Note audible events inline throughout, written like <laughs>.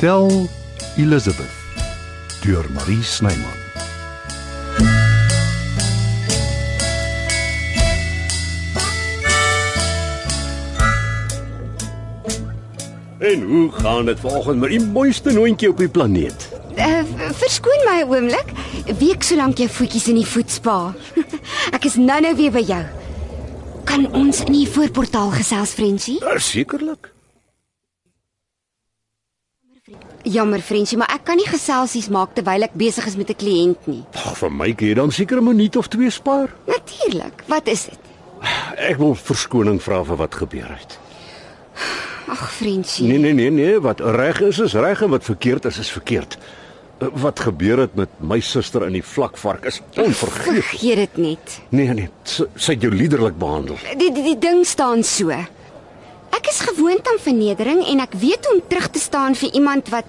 Tel Elizabeth deur Marie Snyman. En hoe gaan dit vanoggend met die mooiste noontjie op die planeet? Eh, v- verskoon my 'n oomblik. Week solank jy voetjies in die voetspa. <laughs> Ek is nou-nou weer by jou. Kan ons in die voorportaal gesels, Frenchie? Ja, sekerlik. Jammer, Frenchie, maar ek kan nie geselsies maak terwyl ek besig is met 'n kliënt nie. Ag, vir my kan jy dan seker 'n minuut of twee spaar. Natuurlik. Wat is dit? Ek wil verskoning vra vir wat gebeur het. Ag, Frenchie. Nee, nee, nee, nee, wat reg is is reg en wat verkeerd is is verkeerd. Eh, Wat gebeur het met my suster in die vlakvark is onvergeeflik. Vergeet dit net. Nee, nee, sy sy het jou liderlik behandel. Die, die die ding staan so. Ek is gewoond aan vernedering en ek weet hoe om terug te staan vir iemand wat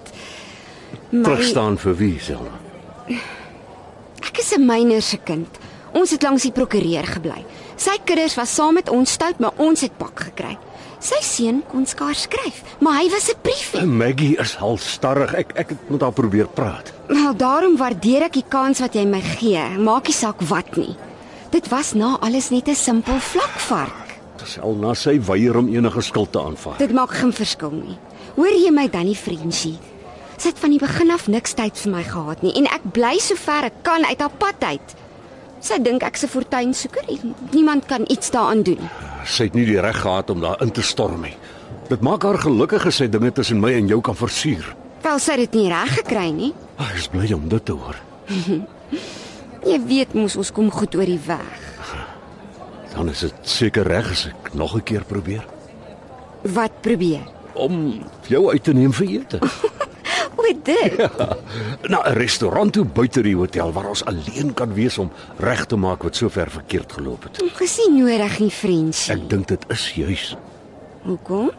my- Terug staan vir wie, Selma? Ek is 'n myner se kind. Ons het langs die prokureur gebly. Sy kinders was saam met ons stout, maar ons het pak gekry. Sy seun kon skaars skryf, maar hy was 'n priefie. Maggie is halstarrig. Ek ek het met haar probeer praat. Wel, daarom waardeer ek die kans wat jy my gee. Maak nie saak wat nie. Dit was na alles net 'n simpel vlakvark. Selma sy weier om enige skuld te aanvaar. Dit maak geen verskil nie. Hoor jy my dan nie, vriendjie? Sy het van die begin af niks tyd vir my gehad nie en ek bly sover ek kan uit haar pad uit. Sy dink ek's 'n fortuinsoeker en niemand kan iets daaraan doen nie. Sy het nie die reg gehad om daar in te storm nie. Dit maak haar gelukkig as sy dinge tussen my en jou kan versuur. Wel sy het dit nie reg gekry nie. Ag, ek is bly om dit te hoor. Jy weet mos ons kom goed oor die weg. Dan is dit seker reg as ek nog 'n keer probeer Wat probeer? om jou uit te neem vir ete. O dit. Na 'n restaurant toe buite die hotel waar ons alleen kan wees om reg te maak wat sover verkeerd geloop het. Gesien nodig nie vriendsie. Ek dink dit is juis Hoekom?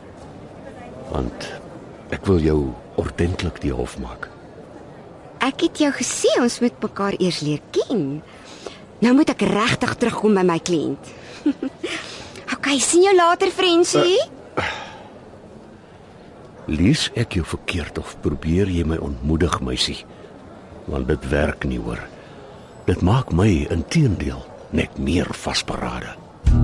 want ek wil jou ordentlik die hof maak. Ek het jou gesê ons moet mekaar eers leer ken. Nou moet ek regtig terugkom by my kliënt. <laughs> OK, sien jou later vriendsie. Lees ek jou verkeerd of probeer jy my ontmoedig, meisie? Want dit werk nie hoor. Dit maak my inteendeel net meer vasberade. <laughs>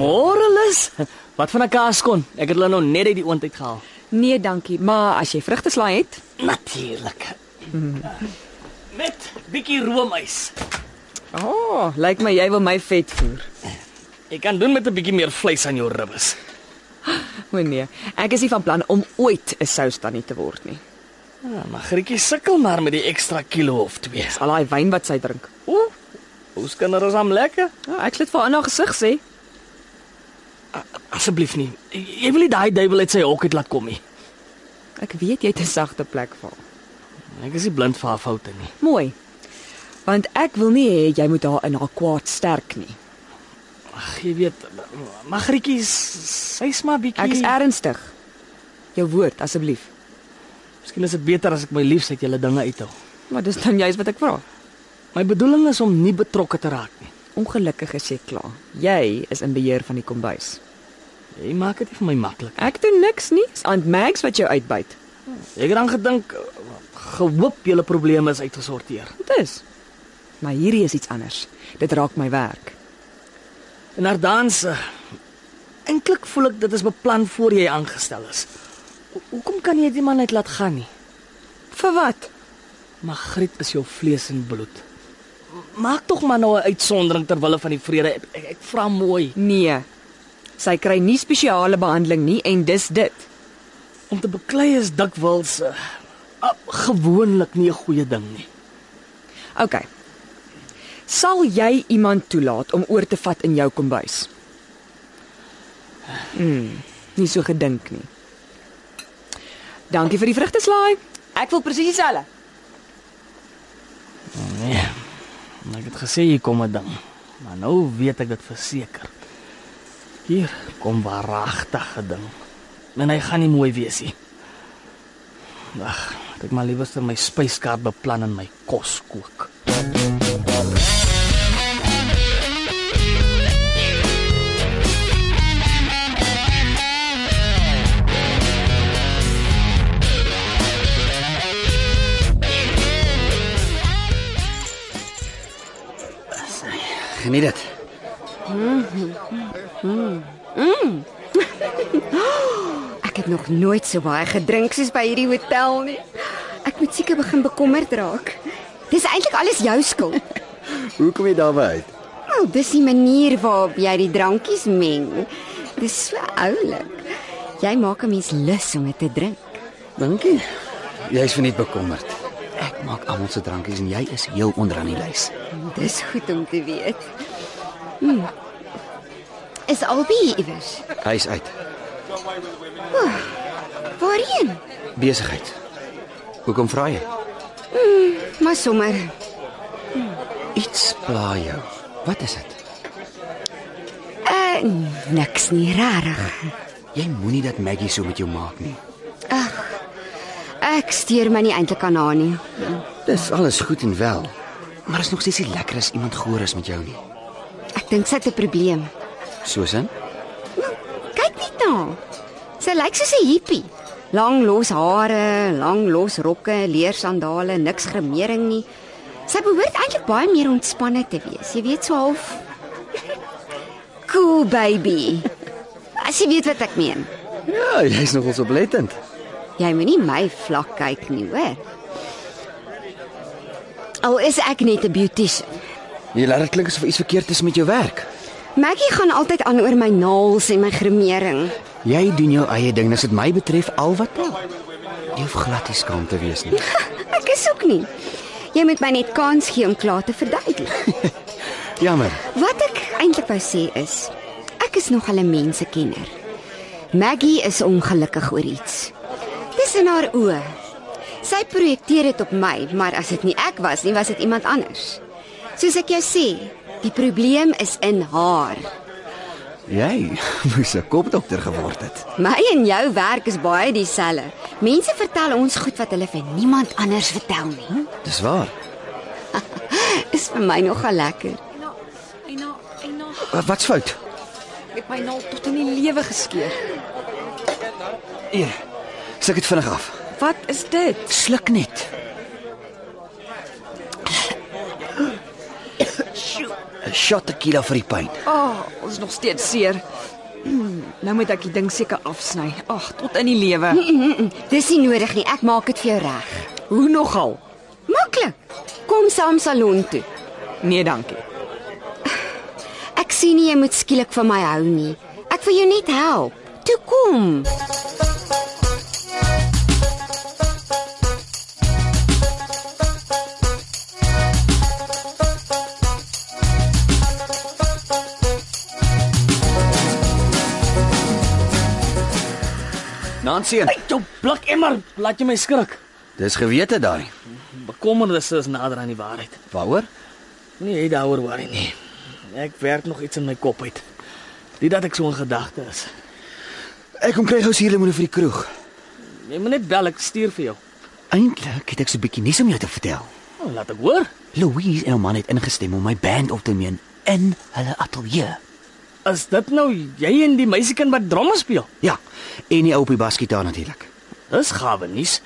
Môre lus. Wat van 'n kaaskon? Ek het hulle nou net uit die oond uitgehaal. Nee, dankie, maar as jy vrugteslaai het, Natuurlik. Hmm. Met bietjie roomys. o, oh, lyk my jy wil my vet voer. Jy kan doen met 'n bietjie meer vleis aan jou ribbes. O nee, ek is nie van plan om ooit 'n soustannie te word nie. Ja, maar Grietjie sukkel maar met die ekstra kilo of twee. Dis al daai wyn wat sy drink. Ooh. Ons kinders is hom lekker. Ja, ek sê dit vir haar in haar gesig sê. Asseblief nie. Jy wil nie daai duiwel uit sy hok uit laat kom nie. Ek weet jy het 'n sagte plek vir haar. Ek is nie blind vir haar foute nie. Mooi. Want ek wil nie hê jy moet haar in haar kwaad sterk nie. Ag, jy weet, maar Grietjie s- sy's maar bietjie Ek is ernstig. Jou woord asseblief. Miskien is dit beter as ek my liefs uit julle dinge uithou. Maar dis dan juist wat ek vra. My bedoeling is om nie betrokke te raak nie. Ongelukkig is jy klaar. Jy is in beheer van die kombuis. Jy maak dit nie vir my maklik. Ek doen niks nie. Dis Aunt Mags wat jou uitbuit. Ek het dan gedink uh, gehoop julle probleme is uitgesorteer. Dit is. Maar hierdie is iets anders. Dit raak my werk. En haar dans uh, eintlik voel ek dit is beplan voor jy aangestel is. Ho hoekom kan jy dit man net laat gaan nie? Vir wat? Magriet is jou vlees en bloed. M- Maak tog maar nou 'n uitsondering ter wille van die vrede. Ek, ek, ek vra mooi Nee. Sy kry nie spesiale behandeling nie en dis dit. om te beklei is dikwels uh, uh, gewoonlik nie 'n goeie ding nie. OK. Sal jy iemand toelaat om oor te vat in jou kombuis? Mm, nie so gedink nie. Dankie vir die vrugteslaai. Ek wil presies dieselfde. Nee. En Ek het gesê hier kom 'n ding. Maar nou weet ek dit verseker. Hier kom waaragtige ding. En hy gaan nie mooi wees nie. Ag, Ek het maar liewerster my spyskaart beplan en my kos kook. Geniet dit. Ek het nog nooit so baie gedrink soos by hierdie hotel nie. Ek moet seker begin bekommerd raak. Dis eintlik alles jou skuld. <laughs> Hoe kom jy daarby uit? Wel, dis die manier waarop jy die drankies meng. Dis so oulik. Jy maak 'n mens lus om dit te drink. Dankie. Jy's verniet bekommerd. Ek maak almal se drankies en jy is heel onderaan die lys. Dis goed om te weet. Hmm. Is Albie iewers? Hy's uit. Waarheen? Besigheid. Hoekom vra jy? Maar sommer. Iets pla jou. Wat is dit? Uh niks nie rarig. Jy moenie dat Maggie so met jou maak nie. Ek steur my nie eintlik aan haar nie. Dis alles goed en wel, maar is nog steeds nie lekker as iemand goor is met jou nie. Ek dink sy het 'n probleem. Susan, Kyk net na haar. Sy lyk soos 'n hippie. Lang los hare, lang los rokke, leersandale, niks grimering nie. Sy behoort eintlik baie meer ontspanne te wees. Jy weet so half <laughs> cool baby. As jy weet wat ek meen. ja, jy's nogal so blettend. Jy moenie my vlak kyk nie, hoor. Al is ek net 'n beautician. Jy laat dit klink asof iets verkeerd is met jou werk. Maggie gaan altyd aan oor my naels en my grimering. Jy doen jou eie ding, as dit my betref al wat tel. Jy hoef glad nie skaam te wees nie. Ek is ook nie. Jy moet my net kans gee om klaar te verduidelik. Jammer. Wat ek eintlik wou sê is, ek is nog 'n mensekenner. Maggie is ongelukkig oor iets. Dis in haar oë. Sy projekteer dit op my, maar as dit nie ek was nie, was dit iemand anders. Soos ek jou sê, die probleem is in haar. Jy <laughs> moes 'n kopdokter geword het. My en jou werk is baie dieselfde. Mense vertel ons goed wat hulle vir niemand anders vertel nie. <laughs> Dis waar. Is vir my nogal lekker. Eina, Eina, Eina, Wa- Wat's fout? ek het my naal tot in die lewe geskeur. Hier. Sluk dit vinnig af. Wat is dit? Sluk net. Sjoe, 'n Shot tequila vir die pyn. O, oh, ons is nog steeds seer. <clears throat> Mm, Nou moet ek die ding seker afsny. Ag, tot in die lewe. <laughs> Dis nie nodig nie. Ek maak dit vir jou reg. Hoe nogal? Maklik. Kom saam salon toe. Nee, dankie. Ek sien nie jy moet skielik van my hou nie. Ek wil jou net help. Toe kom. Nancy, en- Jou blik emmer, laat jy my skrik. dis gewete daai. Bekommernisse is nader aan die waarheid. Waaroor? Nee, jy daaroor worry nie. Ek werk nog iets in my kop uit. Dit dat ek so 'n gedagte is. Ek kom kry gou suurlemoene vir die kroeg. Jy moet net bel, ek stuur vir jou. Eintlik het ek so 'n bietjie nuus om jou te vertel. Oh, laat ek hoor. Louise en haar man het ingestem om my band op te neem in hulle ateljee. Is dit nou jy en die meisiekind wat dromme speel? Ja, en die ou op die basgitaar natuurlik. Dis gawe nuus.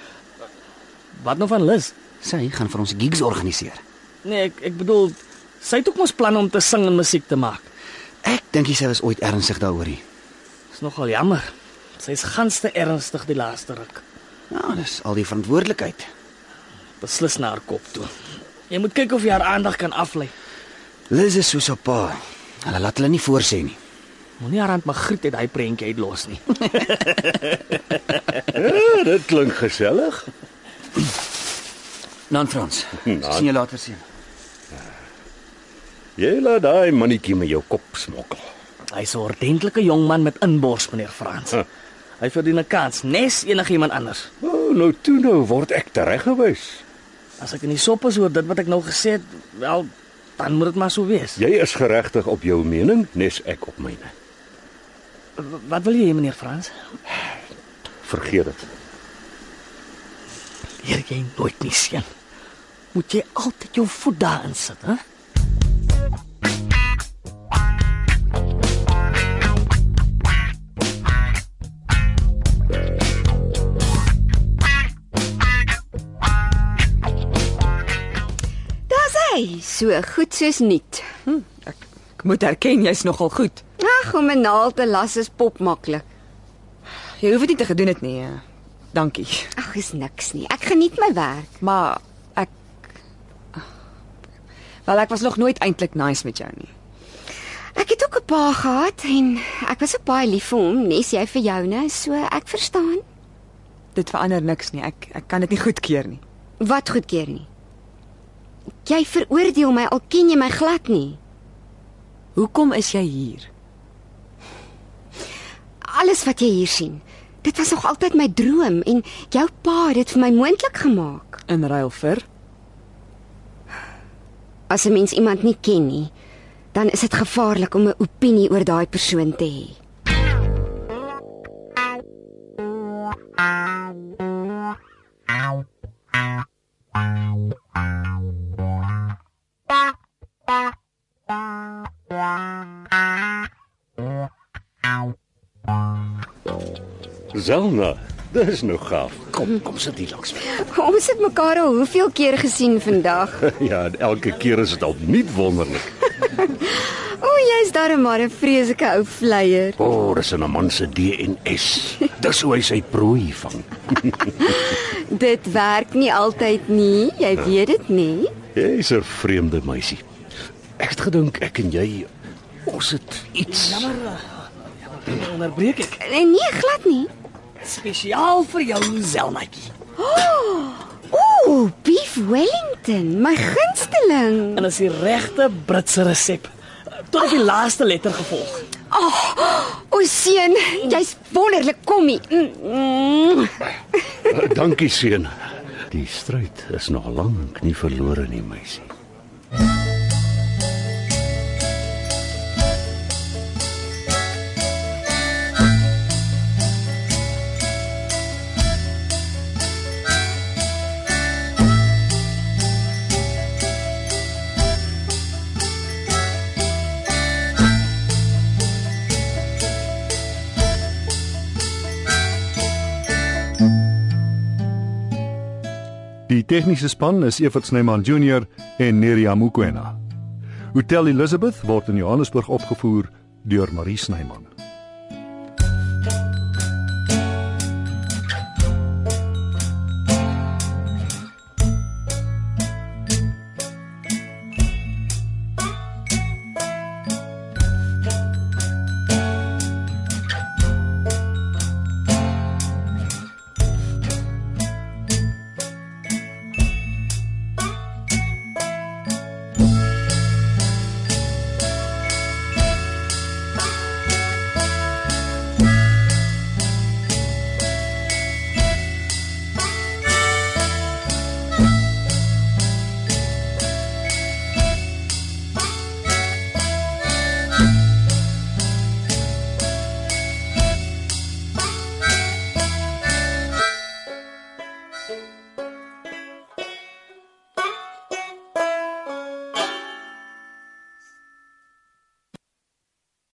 Wat nou van Liz? Sy gaan vir ons gigs organiseer. Nee, ek ek bedoel sy het ook mos planne om te sing en musiek te maak. Ek dink jy sy was ooit ernstig daaroor nie. Dis nogal jammer. Sy's ganste ernstig die laaste ruk. Nou, dis al die verantwoordelikheid. Beslis na haar kop toe. Jy moet kyk of jy haar aandag kan aflei. Liz is soos haar pa. Hulle laat hulle nie voorsê nie. Moenie haar hand Magriet uit daai prentjie uitlos nie. Eh, Dit klink gesellig. Nan Frans. sien jou later sien. Jy laat daai mannetjie met jou kop smokkel. Hy's 'n ordentlike jong man met inbors, meneer Frans. Huh. Hy verdien 'n kans, nes enigiemand anders. O, nou toe nou word ek tereggewys. As ek in die sop is oor dit wat ek nou gesê het, wel dan moet dit maar so wees. Jy is geregtig op jou mening, nes ek op myne. W- Wat wil jy hê, meneer Frans? Vergeet dit. leer jy nooit nie seun. Moet jy altyd jou voet daarin sit, hè? Daar's hy, so goed soos nuut. Ek moet erken jy's nogal goed. Ag, om 'n naald te las is pop maklik. Jy hoef dit nie te gedoen het nie. eh. Dankie. Ag, is niks nie. Ek geniet my werk. Maar ek Wel ek was nog nooit eintlik nice met jou nie. Ek het ook 'n pa gehad en ek was ook baie lief vir hom, nes jy vir joune, so ek verstaan Dit verander niks nie. Ek ek kan dit nie goedkeur nie. wat goedkeur nie. Jy veroordeel my al ken jy my glad nie. Hoekom is jy hier? Alles wat jy hier sien, dit was nog altyd my droom en jou pa het dit vir my moontlik gemaak. In ruil vir? As 'n mens iemand nie ken nie, dan is dit gevaarlik om 'n opinie oor daai persoon te hê. <laughs> Zelna, dis nou gaaf. Kom, kom sit hier langs my. Ons het mekaar al hoeveel keer gesien vandag. <laughs> Ja, en elke keer is dit opnuut wonderlik. O, jy's darem maar 'n vreeslike ou vleier. O, oh, dis 'n man se <laughs> DNS. Dis hoe hy sy prooi <laughs> vang. Dit werk nie altyd nie, jy weet dit nie. Jy's 'n vreemde meisie. Ek het gedink ek en jy ons het iets. Onderbreek ek Eh, Nee, glad nie. spesiaal vir jou, Zelnatjie. O, beef Wellington, my gunsteling. En as die regte Britse resep tot op die laaste letter gevolg. O, seun, jy's wonderlik kommie. Mm, mm. <laughs> Dankie seun. Die stryd is nog lank nie verlore nie, meisie. Die tegniese span is Evert Snyman Junior en Neriya Mukwena. Hotel Elizabeth word in Johannesburg opgevoer deur Marie Snyman.